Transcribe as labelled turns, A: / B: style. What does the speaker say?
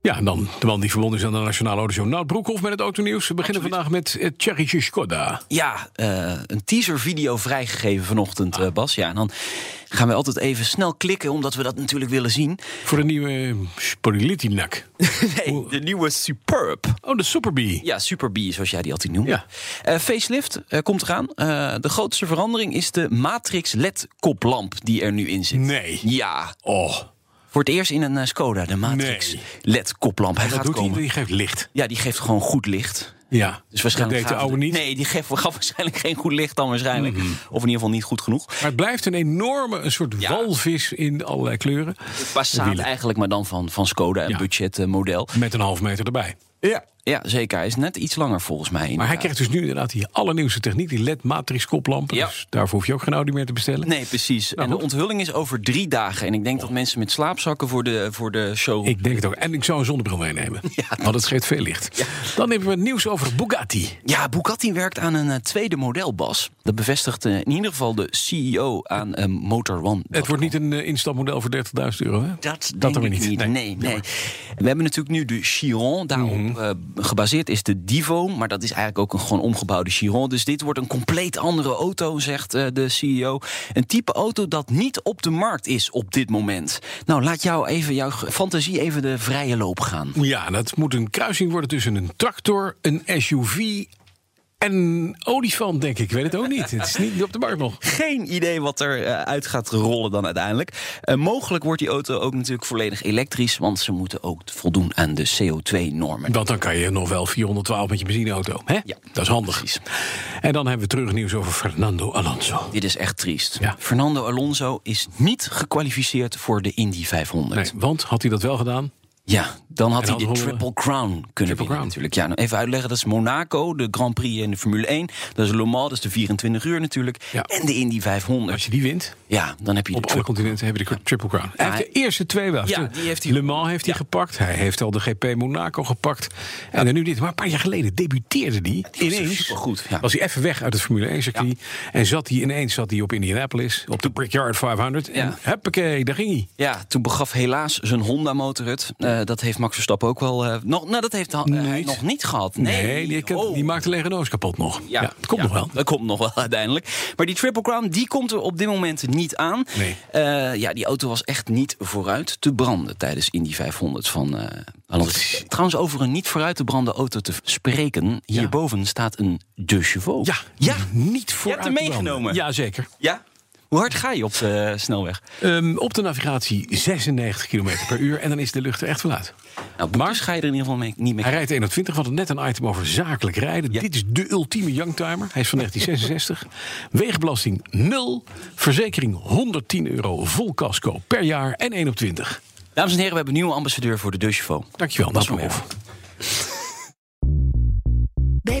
A: Ja, en dan de man die verbonden is aan de Nationale Audio. Nout Broekhoff met het autonieuws. We beginnen vandaag met eh, het Tsjechische Skoda.
B: Ja, eh, een teaservideo vrijgegeven vanochtend, eh, Bas. Ja, en dan gaan we altijd even snel klikken, omdat we dat natuurlijk willen zien.
A: Voor een nieuwe eh, Spolitinak.
B: Nee, de nieuwe Superb.
A: Oh, de Super B.
B: Ja, Super B, zoals jij die altijd noemt.
A: Ja.
B: Eh, facelift eh, komt eraan. Eh, de grootste verandering is de Matrix LED-koplamp die er nu in zit.
A: Nee.
B: Ja,
A: Oh,
B: voor het eerst in een eh, Skoda, de Matrix
A: Nee.
B: LED-koplamp. Hij
A: dat
B: gaat
A: doet hij.
B: komen.
A: Die geeft licht.
B: Ja, die geeft gewoon goed licht.
A: Ja,
B: Dus waarschijnlijk
A: dat deed de
B: gaven
A: oude
B: de-
A: niet. Mhm.
B: Nee, die geeft, gaf waarschijnlijk geen goed licht dan waarschijnlijk. Of in ieder geval niet goed genoeg.
A: Maar het blijft een enorme een soort
B: Ja.
A: walvis in allerlei kleuren.
B: Passat
A: wielen.
B: eigenlijk, maar dan van, van Skoda, een
A: Ja.
B: budgetmodel.
A: Met een half meter erbij.
B: Ja. ja, zeker. Hij is net iets langer volgens mij.
A: Maar hij
B: inderdaad.
A: krijgt dus nu inderdaad die allernieuwste techniek. Die LED-matrix koplampen.
B: Ja.
A: Dus daarvoor hoef je ook geen Audi meer te bestellen.
B: Nee, precies. en de
A: Nou, goed. Oh.
B: onthulling is over drie dagen. En ik denk dat mensen met slaapzakken voor de, voor de show...
A: Ik denk het ook. En ik zou een zonnebril meenemen. Want het geeft veel licht. Dan hebben we het nieuws over Bugatti.
B: Ja, Bugatti werkt aan een eh, tweede model, Bas. Dat bevestigt eh, in ieder geval de CEO aan eh, Motor One.
A: Het wordt niet een eh, instapmodel voor 30.000 euro, hè?
B: Dat,
A: dat
B: denk
A: dan weer
B: ik
A: niet.
B: niet.
A: Nee.
B: Nee, nee. We hebben natuurlijk nu de Chiron. Daarop eh, gebaseerd is de Divo. Maar dat is eigenlijk ook een gewoon omgebouwde Chiron. Dus dit wordt een compleet andere auto, zegt eh, de CEO. Een type auto dat niet op de markt is op dit moment. Nou, laat jou even, jouw ge- fantasie even de vrije loop gaan.
A: Ja, dat moet een kruising worden tussen een tractor, een SUV en een olifant, denk ik. Ik weet het ook niet. Het is niet op de markt nog.
B: Geen idee wat er eh, uit gaat rollen dan uiteindelijk. Eh, mogelijk wordt die auto ook natuurlijk volledig elektrisch. Want ze moeten ook voldoen aan de CO2-normen.
A: Want dan kan je nog wel 412 met je benzineauto. Hè?
B: Ja.
A: dat is handig.
B: Precies.
A: En dan hebben we terug nieuws over Fernando Alonso.
B: Dit is echt triest.
A: Ja.
B: Fernando Alonso is niet gekwalificeerd voor de Indy 500.
A: Nee, want had hij dat wel gedaan?
B: Ja, dan had
A: En dan
B: hij de
A: rollen-
B: Triple Crown kunnen winnen
A: Crown.
B: natuurlijk. Ja, nou even uitleggen, dat is Monaco, de Grand Prix in de Formule 1. Dat is Le Mans, dat is de 24 uur natuurlijk.
A: Ja.
B: En de Indy
A: Als
B: 500.
A: je die wint,
B: Ja, dan heb je de
A: op alle
B: Triple
A: continenten hebben we de Triple Crown. Hij
B: Ja,
A: heeft de eerste twee wel.
B: Ja, die heeft hij-
A: Le Mans heeft hij gepakt. Hij heeft al de GP Monaco gepakt. En dan nu dit. Maar een paar jaar geleden debuteerde hij
B: was
A: ineens.
B: supergoed, ja.
A: Was hij even weg uit het Formule 1 circuit. En zat hij ineens zat hij op Indianapolis. Op de Brickyard 500. En
B: Ja.
A: huppakee, daar ging hij.
B: Ja, toen begaf helaas zijn Honda-motor het. Eh, dat heeft Max Verstappen ook wel... eh, nog, nou, dat heeft hij
A: Niet.
B: nog niet gehad. Nee,
A: die, kent-
B: Oh.
A: die maakte Legenoos kapot nog. Ja, het komt
B: ja,
A: nog wel.
B: Dat komt nog wel uiteindelijk. Maar die Triple Crown, die komt er op dit moment niet aan.
A: Nee.
B: Eh, ja, die auto was echt niet vooruit te branden tijdens Indy 500 van eh Alonso. Trouwens, over een niet vooruit te branden auto te spreken. Hierboven staat een De Chevaux.
A: Ja,
B: ja.
A: niet voor
B: hem meegenomen.
A: Jazeker.
B: ja. Hoe hard ga je op de snelweg?
A: Ehm, op de navigatie 96 km per uur. En dan is de lucht er echt van uit.
B: Nou, boetes ga je er in ieder geval mee, niet mee.
A: Hij rijdt 21, we hadden net een item over zakelijk rijden. Dit is de ultieme youngtimer. Hij is van 1966. Wegenbelasting 0. Verzekering 110 euro vol casco per jaar en 1 op 20.
B: Dames en heren, we hebben een nieuwe ambassadeur voor de De Chevaux.
A: Dankjewel,
B: Dat
A: dat
B: is wel
A: is
C: Bij